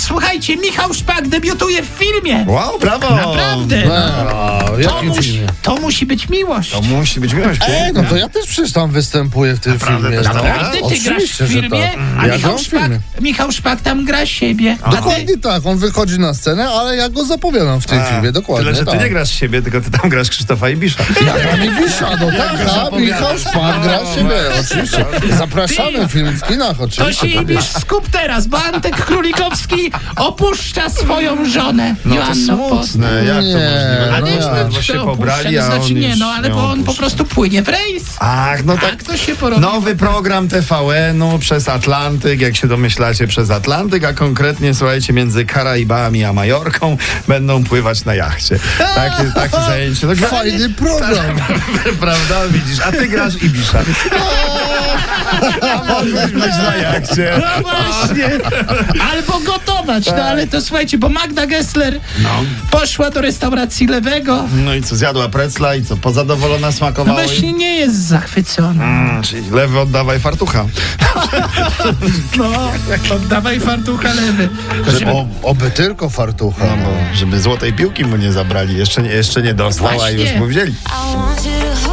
Słuchajcie, Michał Szpak debiutuje w filmie. Wow, brawo! Naprawdę. A, w To, jakim musi, filmie? to musi być miłość. To musi być miłość, Ej, piękna. no to ja też przecież tam występuję w tym filmie. naprawdę? Naprawdę no, ty grasz w oczywiście, że filmie, tak. a Ja Michał gram w Szpak, filmie. Michał Szpak tam gra siebie. A ty, Dokładnie tak, on wychodzi na scenę, ale ja go zapowiadam w tym filmie, dokładnie Tyle, że ty tak. nie grasz siebie, tylko ty tam grasz Krzysztofa No Ibisza. Ja gram Ibisza, no tak, a Michał Szpak gra siebie, oczywiście. Zapraszamy film w kinach, to oczywiście. się imisz skup teraz, bo Antek Królikowski opuszcza swoją żonę. No to Joanną Post. smutne, jak to Nie, możliwe? no Ale ja. no, Ledwo się pobrali, a znaczy on nie, już no ale ją bo on po opuszcza. prostu płynie w rejs. Ach, no Tak, tak. to się porobi. Nowy program TVN-u przez Atlantyk, jak się domyślacie, przez Atlantyk, a konkretnie, słuchajcie, między Karaibami a Majorką będą pływać na jachcie. Takie, takie zajęcie. No, Fajny program. Prawda? Widzisz, a ty grasz Ibisza. A możesz być na jachcie. No właśnie. Albo gotować. No ale to słuchajcie, bo Magda Gessler poszła do restauracji Lewego. No i co, zjadła precla i co, pozadowolona No smakowała? właśnie nie jest zachwycona. Mm, czyli lewy oddawaj fartucha. No, oddawaj fartucha lewy. Żeby... O, oby tylko No fartucha, bo... Żeby złotej piłki mu nie zabrali, jeszcze nie, jeszcze nie dostała i już Właśnie. mu wzięli. I want you to hold